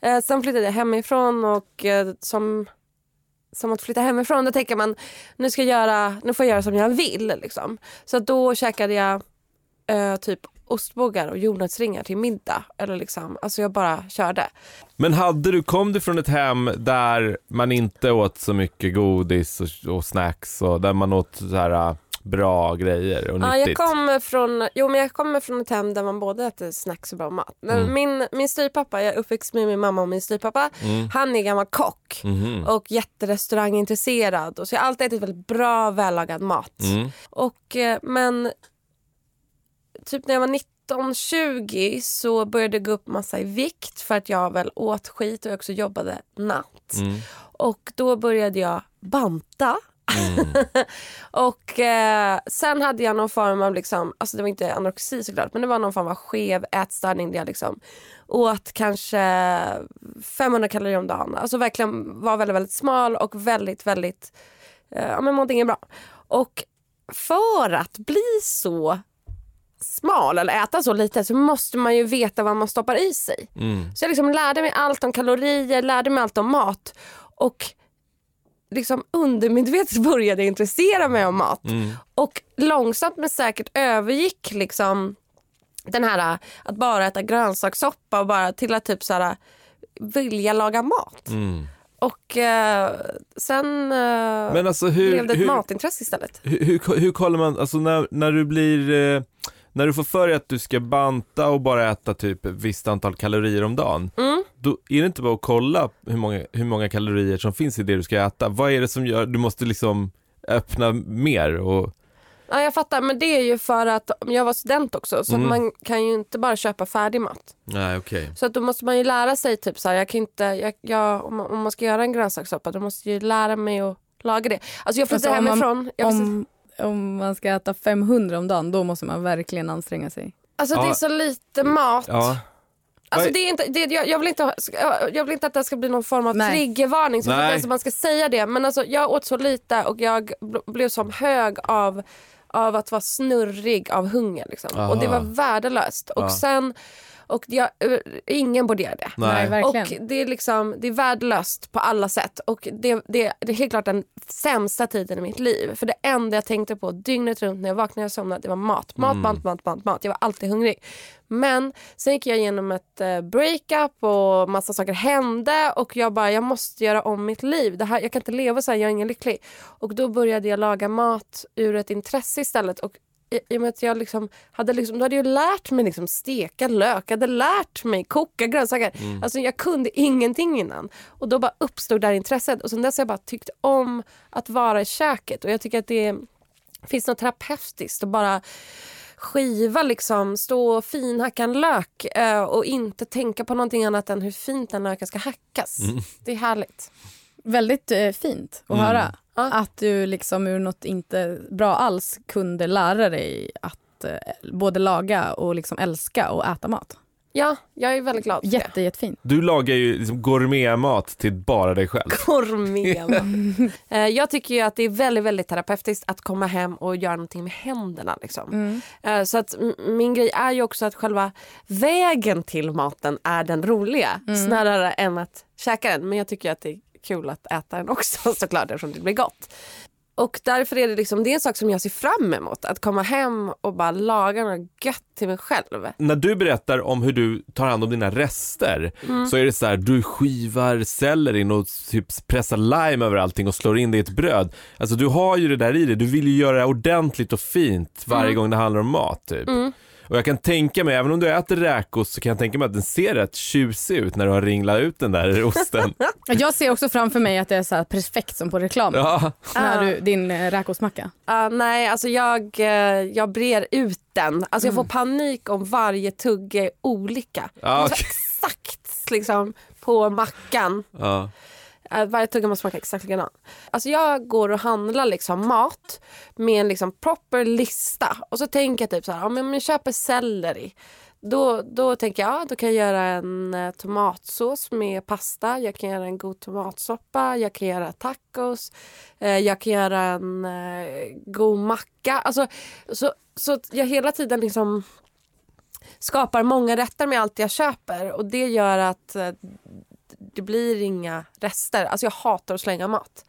Speaker 1: Eh, sen flyttade jag hemifrån och eh, som, som att flytta hemifrån, då tänker man nu, ska jag göra, nu får jag göra som jag vill. Liksom. Så att då käkade jag eh, typ ostbågar och jordnötsringar till middag. Eller liksom, alltså jag bara körde.
Speaker 2: Men hade du, kom du från ett hem där man inte åt så mycket godis och, och snacks och där man åt så här äh, bra grejer och
Speaker 1: Ja,
Speaker 2: nyttigt?
Speaker 1: jag kommer från, jo, men jag kommer från ett hem där man både äter snacks och bra mat. Men
Speaker 2: Mm.
Speaker 1: Min, min styvpappa, jag är uppväxt med min mamma och min styvpappa,
Speaker 2: Mm.
Speaker 1: han är gammal kock.
Speaker 2: Mhm.
Speaker 1: och jätterestaurangintresserad. Och så jag har alltid ätit väldigt bra vällagad mat.
Speaker 2: Mm.
Speaker 1: Och, eh, men typ när jag var 19-20 så började det gå upp massa i vikt för att jag väl åt skit och jag också jobbade natt.
Speaker 2: Mm.
Speaker 1: Och då började jag banta.
Speaker 2: Mm.
Speaker 1: Och eh, sen hade jag någon form av, liksom, alltså det var inte anorexi såklart, men det var någon form av skev ätstörning där jag liksom åt kanske 500 kalorier om dagen. Alltså verkligen var väldigt, väldigt smal och väldigt, väldigt, eh, ja men mådde inget bra. Och för att bli så smal eller äta så lite så måste man ju veta vad man stoppar i sig.
Speaker 2: Mm.
Speaker 1: Så jag liksom lärde mig allt om kalorier, lärde mig allt om mat och liksom undermedvetet började jag intressera mig om mat.
Speaker 2: Mm.
Speaker 1: Och långsamt men säkert övergick liksom den här äh, att bara äta grönsakssoppa och bara till att typ så här vilja laga mat.
Speaker 2: Mm.
Speaker 1: Och eh, sen eh,
Speaker 2: Men alltså
Speaker 1: blev det
Speaker 2: hur,
Speaker 1: ett
Speaker 2: hur,
Speaker 1: matintresse istället.
Speaker 2: hur, hur, hur kollar man, alltså när, när du blir, eh, när du får för dig att du ska banta och bara äta typ ett visst antal kalorier om dagen,
Speaker 1: Mm.
Speaker 2: då är det inte bara att kolla hur många, hur många kalorier som finns i det du ska äta. Vad är det som gör, du måste liksom öppna mer och,
Speaker 1: Ja, jag fattar, men det är ju för att jag var student också så
Speaker 2: Mm.
Speaker 1: att man kan ju inte bara köpa färdig mat.
Speaker 2: nej okej.
Speaker 1: Så att då måste man ju lära sig, typ så här, jag kan inte, jag, jag, om, man, om man ska göra en grönsakssoppa då måste jag ju lära mig att laga det. Alltså jag flyttade
Speaker 3: Alltså, om man-
Speaker 1: hemifrån. jag flyttade,
Speaker 3: Om, om man ska äta 500 om dagen, då måste man verkligen anstränga sig.
Speaker 1: alltså det
Speaker 2: Ja.
Speaker 1: är så lite mat.
Speaker 2: Ja.
Speaker 1: Alltså
Speaker 2: Vad-
Speaker 1: det är inte, det, jag, jag, vill inte, ha- ska- jag vill inte att det ska bli någon form av
Speaker 3: Nej.
Speaker 1: triggervarning. Så
Speaker 2: Nej.
Speaker 1: alltså man ska säga det. Men alltså, jag åt så lite och jag bl- blev som hög av, av att vara snurrig av hunger. Liksom.
Speaker 2: Aha.
Speaker 1: Och det var värdelöst.
Speaker 2: Ja.
Speaker 1: Och sen, och jag, eh, ingen borde göra det.
Speaker 2: Nej.
Speaker 3: verkligen.
Speaker 1: Och det är, liksom, det är värdelöst på alla sätt. Och det, det, det är helt klart den sämsta tiden i mitt liv. För det enda jag tänkte på dygnet runt när jag vaknade och somnade det var mat. Mat, mat, mat, mat, mat. Jag var alltid hungrig. Men sen gick jag igenom ett eh, breakup och massa saker hände och jag bara, jag måste göra om mitt liv. Det här, jag kan inte leva så här, jag är ingen lycklig. Och då började jag laga mat ur ett intresse istället. Och i, i och med att jag liksom hade, liksom, då hade jag lärt mig liksom steka lök, jag hade lärt mig koka grönsaker. Alltså jag kunde ingenting innan. Och då bara uppstod det här intresset. Och sen dess har jag bara tyckt om att vara i köket. Och jag tycker att det finns något terapeutiskt att bara skiva liksom, stå och finhacka en lök eh, och inte tänka på någonting annat än hur fint den löken ska hackas. Det är härligt.
Speaker 3: Väldigt eh, fint att höra.
Speaker 1: Ja.
Speaker 3: Att du liksom ur något inte bra alls kunde lära dig att eh, både laga och liksom älska och äta mat.
Speaker 1: Ja, jag är väldigt glad för det.
Speaker 3: Jätte, jättefint.
Speaker 2: Du lagar ju liksom gourmetmat till bara dig själv.
Speaker 1: Korvmema. Eh, jag tycker ju att det är väldigt, väldigt terapeutiskt att komma hem och göra någonting med händerna. Liksom. Eh, Så att m- min grej är ju också att själva vägen till maten är den roliga snarare än att käka den. Men jag tycker ju att det är kul att äta den också såklart eftersom det blir gott. Och därför är det liksom, det är en sak som jag ser fram emot. Att komma hem och bara laga något gött till mig själv.
Speaker 2: när du berättar om hur du tar hand om dina rester så är det så här, du skivar sellerin och typ pressar lime över allting och slår in det i ett bröd. Alltså du har ju det där i dig, du vill ju göra det ordentligt och fint varje gång det handlar om mat typ. Och jag kan tänka mig, även om du äter räkost så kan jag tänka mig att den ser rätt tjusig ut när du har ringlat ut den där osten.
Speaker 3: Jag ser också framför mig att det är så här perfekt som på reklam.
Speaker 2: ja.
Speaker 3: När
Speaker 1: Ah.
Speaker 3: du, din eh, räkosmacka.
Speaker 1: Ja, nej, alltså jag, eh, jag brer ut den. Alltså jag får panik om varje tugga är olika.
Speaker 2: Ja,
Speaker 1: Det måste vara
Speaker 2: okej.
Speaker 1: Exakt liksom, på mackan.
Speaker 2: ja.
Speaker 1: Eh, Varje tugga måste smaka exakt likadan. Alltså jag går och handlar liksom mat med en liksom proper lista. Och så tänker jag typ så här, om jag köper selleri. Då, då tänker jag, ja, då kan jag göra en eh, tomatsås med pasta. Jag kan göra en god tomatsoppa. Jag kan göra tacos. Eh, jag kan göra en eh, god macka. Alltså, så, så att jag hela tiden liksom skapar många rätter med allt jag köper. Och det gör att eh, det blir inga rester. Alltså jag hatar att slänga mat.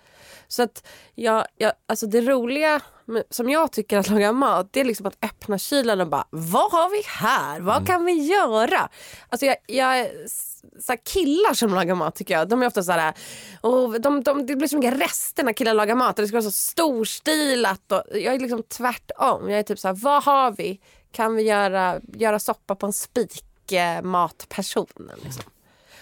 Speaker 1: Så att jag, jag, alltså det roliga med- som jag tycker att laga mat det är liksom att öppna kylen och bara vad har vi här? Vad kan vi göra? Alltså jag, jag är s- så här killar som lagar mat tycker jag, de är ofta så här, och de, de, det blir så mycket rester när killar lagar mat och det ska vara så storstilat. Och jag är liksom tvärtom. Jag är typ så här, vad har vi? Kan vi göra, göra soppa på en spik? eh, Matpersonen liksom.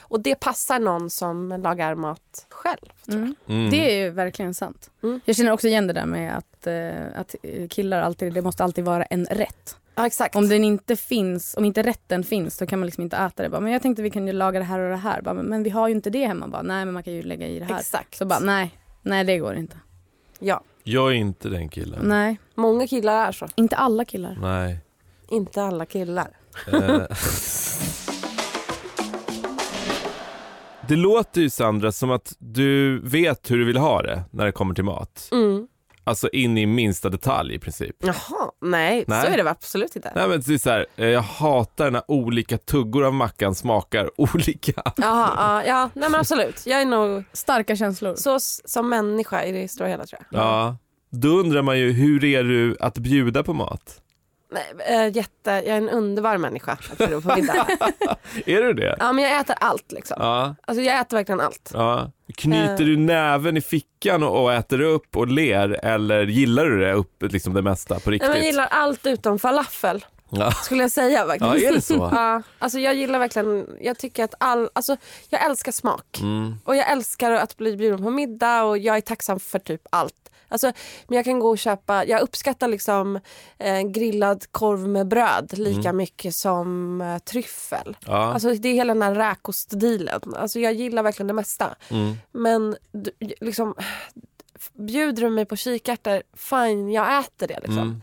Speaker 1: Och det passar någon som lagar mat själv.
Speaker 3: Det är ju verkligen sant.
Speaker 1: Mm.
Speaker 3: Jag känner också igen det där med att, eh, att eh, killar alltid, det måste alltid vara en rätt.
Speaker 1: Ja, exakt.
Speaker 3: Om den inte finns, om inte rätten finns då kan man liksom inte äta det. Bara, men jag tänkte vi kan ju laga det här och det här. Bara, men vi har ju inte det hemma. Bara, nej men man kan ju lägga i det här.
Speaker 1: Exakt.
Speaker 3: Så bara nej, nej det går inte.
Speaker 1: ja.
Speaker 2: Jag är inte den killen.
Speaker 3: Nej,
Speaker 1: Många killar är så.
Speaker 3: inte alla killar.
Speaker 2: Nej.
Speaker 1: Inte alla killar.
Speaker 2: Eh. det låter ju Sandra som att du vet hur du vill ha det när det kommer till mat.
Speaker 1: Mm.
Speaker 2: Alltså in i minsta detalj i princip.
Speaker 1: Jaha, nej,
Speaker 2: Nej.
Speaker 1: så är det absolut inte.
Speaker 2: Nej men det är så här, eh, jag hatar när olika tuggor av mackan smakar olika.
Speaker 1: Jaha, ja, ja, nej men absolut. Jag är nog
Speaker 3: Starka känslor.
Speaker 1: så s- som människa i det stora hela tror jag.
Speaker 2: Ja. Då undrar man ju, hur är du att bjuda på mat?
Speaker 1: Nej, äh, jätte, jag är en underbar människa att bjuda på middag.
Speaker 2: Är du det?
Speaker 1: ja, men jag äter allt liksom.
Speaker 2: Ja.
Speaker 1: Alltså, jag äter verkligen allt.
Speaker 2: ja. Knyter
Speaker 1: Eh.
Speaker 2: du näven i fickan och, och äter upp och ler eller gillar du det upp liksom det mesta på
Speaker 1: Nej,
Speaker 2: riktigt?
Speaker 1: men jag gillar allt utom falafel.
Speaker 2: ja.
Speaker 1: skulle jag säga faktiskt.
Speaker 2: Ja, är det så?
Speaker 1: ja, alltså jag gillar verkligen, jag tycker att all, alltså jag älskar smak.
Speaker 2: Mm.
Speaker 1: Och jag älskar att bli bjuden på middag och jag är tacksam för typ allt. Alltså, men jag kan gå och köpa, jag uppskattar liksom eh, grillad korv med bröd lika mycket som eh, tryffel.
Speaker 2: Mm. Ja.
Speaker 1: Alltså det är hela den här räkostdealen. Alltså jag gillar verkligen det mesta.
Speaker 2: Mm.
Speaker 1: Men du, liksom, bjuder du mig på kikärtor, fine jag äter det liksom.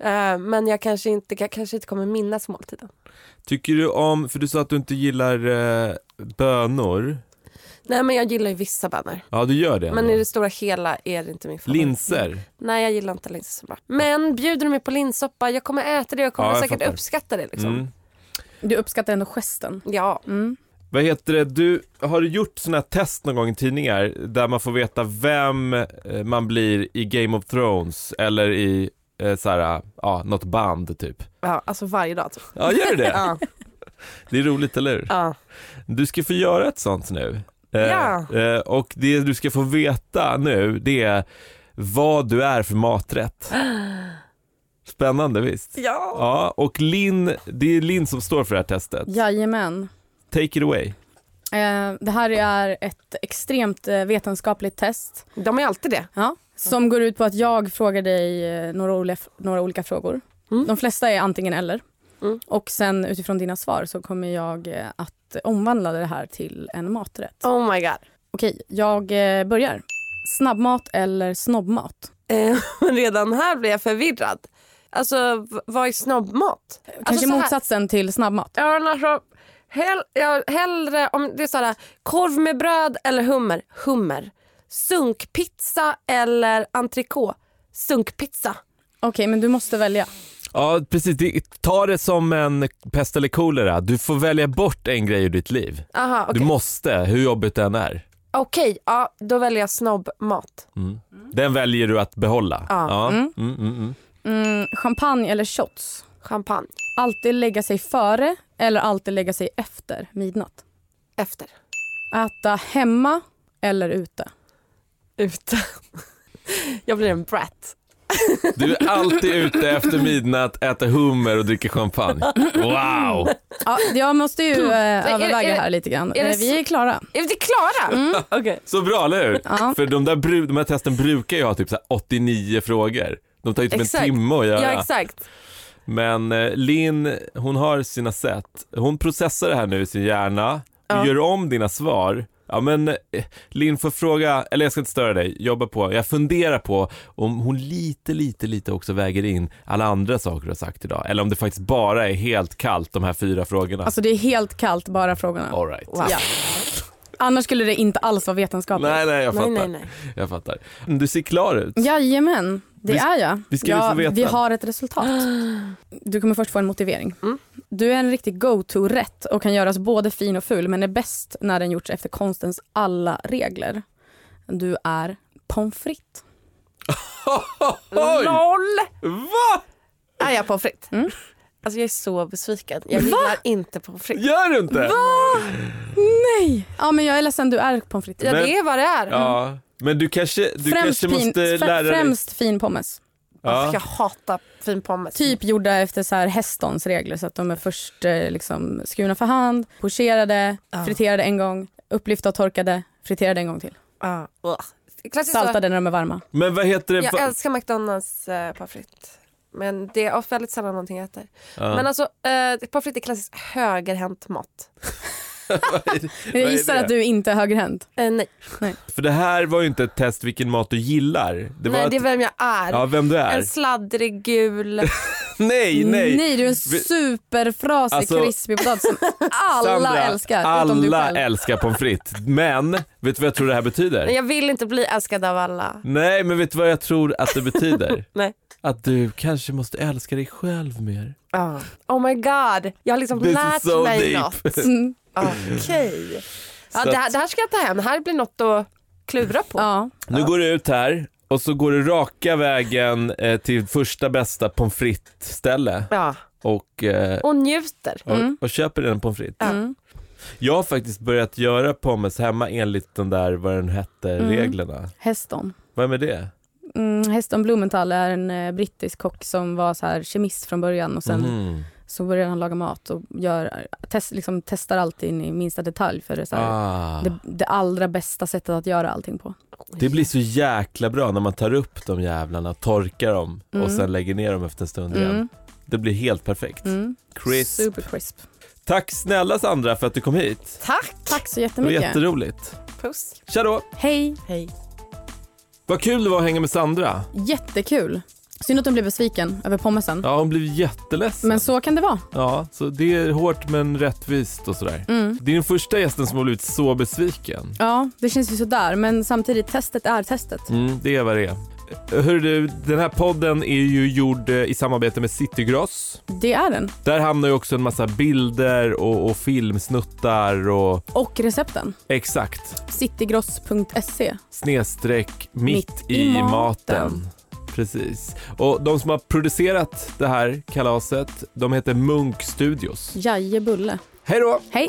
Speaker 2: Mm.
Speaker 1: Eh, men jag kanske, inte, jag kanske inte kommer minnas måltiden.
Speaker 2: Tycker du om, för du sa att du inte gillar eh, bönor.
Speaker 1: Nej men jag gillar ju vissa bönor.
Speaker 2: Ja, du gör det.
Speaker 1: Men
Speaker 2: ändå.
Speaker 1: i det Mm, stora hela är det inte min favorit.
Speaker 2: Linser.
Speaker 1: Nej jag gillar inte linser så bra. Men bjuder du mig på linssoppa, jag kommer äta det och jag kommer
Speaker 2: Ja, jag
Speaker 1: säkert
Speaker 2: fattar.
Speaker 1: uppskatta det liksom.
Speaker 2: Mm.
Speaker 3: Du uppskattar ändå gesten. Mm.
Speaker 1: Ja.
Speaker 2: Vad heter det, du, har du gjort sådana här test någon gång i tidningar där man får veta vem eh, man blir i Game of Thrones eller i eh, så här, ja, något band typ?
Speaker 1: ja, alltså varje dag typ.
Speaker 2: Ja, gör du det?
Speaker 1: Ja.
Speaker 2: Det är roligt, eller hur?
Speaker 1: Ja.
Speaker 2: Du ska få göra ett sånt nu. Eh,
Speaker 1: Ja.
Speaker 2: eh, och det du ska få veta nu, det är vad du är för maträtt. Spännande visst?
Speaker 1: ja.
Speaker 2: Ja, och Linn, det är Linn som står för det här testet.
Speaker 3: Jajamän.
Speaker 2: Take it away.
Speaker 3: Eh, det här är ett extremt eh, vetenskapligt test.
Speaker 1: De är alltid det.
Speaker 3: Ja, som går ut på att jag frågar dig eh, några, olika, några olika frågor.
Speaker 1: Mm.
Speaker 3: De flesta är antingen eller.
Speaker 1: Mm.
Speaker 3: Och sen utifrån dina svar så kommer jag eh, att omvandla det här till en maträtt.
Speaker 1: Oh my god.
Speaker 3: Okej, jag eh, börjar. Snabbmat eller snobbmat?
Speaker 1: Eh, redan här blir jag förvirrad. Alltså v- vad är snobbmat?
Speaker 3: Kanske
Speaker 1: alltså, så här-
Speaker 3: motsatsen till snabbmat.
Speaker 1: Ja, men alltså, hell, ja, hellre om det är sådär, korv med bröd eller hummer. Hummer. Sunkpizza eller entrecote. Sunkpizza.
Speaker 3: Okej, men du måste välja.
Speaker 2: Ja, precis. Det- Ta det som en pest eller kolera. Du får välja bort en grej ur ditt liv.
Speaker 1: Aha, okej.
Speaker 2: Du måste, hur jobbigt den är.
Speaker 1: Okej, ja, då väljer jag snobbmat.
Speaker 2: Den väljer du att behålla.
Speaker 1: Ja.
Speaker 2: Mm, mm, mm.
Speaker 3: Mm, champagne eller shots?
Speaker 1: Champagne.
Speaker 3: Alltid lägga sig före eller alltid lägga sig efter midnatt?
Speaker 1: Efter.
Speaker 3: Äta hemma eller ute?
Speaker 1: Ute. jag blir en brat.
Speaker 2: Du är alltid ute efter midnatt, äter hummer och dricker champagne. Wow!
Speaker 3: Ja, jag måste ju eh,
Speaker 1: Mm. är det-
Speaker 3: överväga
Speaker 1: är det-
Speaker 3: här lite grann.
Speaker 1: är det
Speaker 3: Eh, Vi är klara.
Speaker 1: Är vi klara? Mm. Okej.
Speaker 2: Så bra, eller hur?
Speaker 3: Ja.
Speaker 2: För de där, bru- de här testen brukar ju ha typ så här 89 frågor. De tar ju typ
Speaker 1: Exakt.
Speaker 2: en timme att göra.
Speaker 1: Ja, exakt.
Speaker 2: Men eh, Linn, hon har sina sätt. Hon processar det här nu i sin hjärna. Hon
Speaker 1: Ja.
Speaker 2: gör om dina svar. Ja men eh, Linn får fråga, eller jag ska inte störa dig, jobba på. Jag funderar på om hon lite, lite, lite också väger in alla andra saker du har sagt idag. Eller om det faktiskt bara är helt kallt de här fyra frågorna.
Speaker 3: Alltså det är helt kallt bara frågorna.
Speaker 2: All right.
Speaker 3: Ja. Annars skulle det inte alls vara vetenskapligt.
Speaker 2: Nej, nej, jag
Speaker 1: Nej, nej,
Speaker 2: fattar.
Speaker 1: nej.
Speaker 2: Jag fattar. Du ser klar ut.
Speaker 3: Jajamän, det
Speaker 2: Vi-
Speaker 3: är jag.
Speaker 2: vi ska ju
Speaker 3: ja,
Speaker 2: få veta.
Speaker 3: Vi har ett resultat. Du kommer först få en motivering.
Speaker 1: Mm.
Speaker 3: Du är en riktig go-to-rätt och kan göras både fin och ful men är bäst när den gjorts efter konstens alla regler. Du är pommes frites.
Speaker 2: Oj!
Speaker 1: LOL!
Speaker 2: Va?
Speaker 1: Är jag pommes frites?
Speaker 3: Mm.
Speaker 1: Alltså jag är så besviken. Jag gillar inte pommes frites.
Speaker 2: Gör du inte?
Speaker 3: Nej! Ja men jag är ledsen, du är pommes frites.
Speaker 1: Ja,
Speaker 2: Men-
Speaker 1: det är vad det är.
Speaker 2: Ja, men du kanske, du kanske måste
Speaker 3: fr-
Speaker 2: lära dig.
Speaker 3: främst fin pommes.
Speaker 1: Alltså,
Speaker 2: Ja.
Speaker 1: jag hatar fin pommes.
Speaker 3: Typ gjorda efter så här hästons regler så att de är först eh, liksom, skurna för hand, pocherade,
Speaker 1: Ja.
Speaker 3: friterade en gång, upplyfta och torkade, friterade en gång till.
Speaker 1: Ja. Ugh. Klassiskt så-
Speaker 3: Saltade när de är varma.
Speaker 2: Men vad heter det?
Speaker 1: Jag
Speaker 2: Va-
Speaker 1: älskar McDonalds eh, pommes frites. Men det är väldigt sällan någonting jag äter.
Speaker 2: Ja.
Speaker 1: Men alltså, eh, pommes frites är klassiskt högerhänt mat.
Speaker 2: Vad är
Speaker 3: Jag gissar
Speaker 2: det?
Speaker 3: att du inte är högerhänt.
Speaker 1: Eh, nej,
Speaker 2: För det här var ju inte ett test vilken mat du gillar. Det var
Speaker 1: nej
Speaker 2: ett...
Speaker 1: det är vem jag är.
Speaker 2: Ja, vem du är.
Speaker 1: En sladdrig gul...
Speaker 2: Nej, nej.
Speaker 3: du är en
Speaker 2: Vi-
Speaker 3: superfrasig
Speaker 2: Alltså-
Speaker 3: krispig potatis som alla
Speaker 2: Sandra,
Speaker 3: älskar. utom du
Speaker 2: alla
Speaker 3: själv.
Speaker 2: älskar pommes frites. Men, vet du vad jag tror det här betyder?
Speaker 1: Nej, jag vill inte bli älskad av alla.
Speaker 2: Nej, men vet du vad jag tror att det betyder?
Speaker 1: Nej.
Speaker 2: Att du kanske måste älska dig själv mer.
Speaker 1: Oh. my god, jag har liksom
Speaker 2: Ah. This is
Speaker 1: lärt
Speaker 2: so
Speaker 1: mig
Speaker 2: deep.
Speaker 1: något.
Speaker 3: Mm,
Speaker 1: Okej. Ja,
Speaker 2: Så
Speaker 1: det, här, det här ska jag ta hem. Det här blir något att klura på.
Speaker 3: ja.
Speaker 2: Nu går du ut här och så går du raka vägen eh, till första bästa pommes frites-ställe
Speaker 1: Ja.
Speaker 2: och, eh,
Speaker 1: Och njuter.
Speaker 2: och,
Speaker 3: Mm.
Speaker 2: och köper en pommes frites.
Speaker 3: Mm.
Speaker 2: Jag har faktiskt börjat göra pommes hemma enligt den där, vad den hette,
Speaker 3: Mm.
Speaker 2: reglerna.
Speaker 3: Heston.
Speaker 2: Vem är det?
Speaker 3: Mm, Heston Blumenthal är en eh, brittisk kock som var så här kemist från början och sen
Speaker 2: Mhm.
Speaker 3: så började han laga mat och gör, test, liksom, testar allt in i minsta detalj för det, är så här,
Speaker 2: Ah.
Speaker 3: det, det allra bästa sättet att göra allting på.
Speaker 2: Det blir så jäkla bra när man tar upp de jävlarna, torkar dem
Speaker 3: Mm.
Speaker 2: och sen lägger ner dem efter en stund igen.
Speaker 3: Mm,
Speaker 2: Det blir helt perfekt.
Speaker 3: mm.
Speaker 2: Chris,
Speaker 3: Super crisp.
Speaker 2: tack snälla Sandra för att du kom hit.
Speaker 1: Tack.
Speaker 3: Tack så
Speaker 2: Det var
Speaker 3: jättemycket.
Speaker 2: jätteroligt.
Speaker 1: Puss.
Speaker 2: Tja då!
Speaker 3: Hej.
Speaker 1: Hej.
Speaker 2: Vad kul det var att hänga med Sandra.
Speaker 3: Jättekul. Synd att hon blev besviken över pommesen.
Speaker 2: Ja, hon blev jätteledsen.
Speaker 3: Men så kan det vara.
Speaker 2: Ja, så det är hårt men rättvist och sådär.
Speaker 3: Mm.
Speaker 2: Det är den första gästen som har blivit så besviken.
Speaker 3: Ja, det känns ju sådär. Men samtidigt, testet är testet.
Speaker 2: Mm, det är vad det är. Hör du, den här podden är ju gjord eh, i samarbete med Citygross.
Speaker 3: Det är den.
Speaker 2: Där hamnar ju också en massa bilder och, och filmsnuttar och
Speaker 3: Och recepten.
Speaker 2: exakt
Speaker 3: Citygross.se.
Speaker 2: snedstreck mitt,
Speaker 3: Mitt
Speaker 2: i,
Speaker 3: i
Speaker 2: maten.
Speaker 3: maten.
Speaker 2: Precis. Och de som har producerat det här kalaset, de heter Munk Studios.
Speaker 3: Jajebulle.
Speaker 2: Hej då!
Speaker 3: Hej.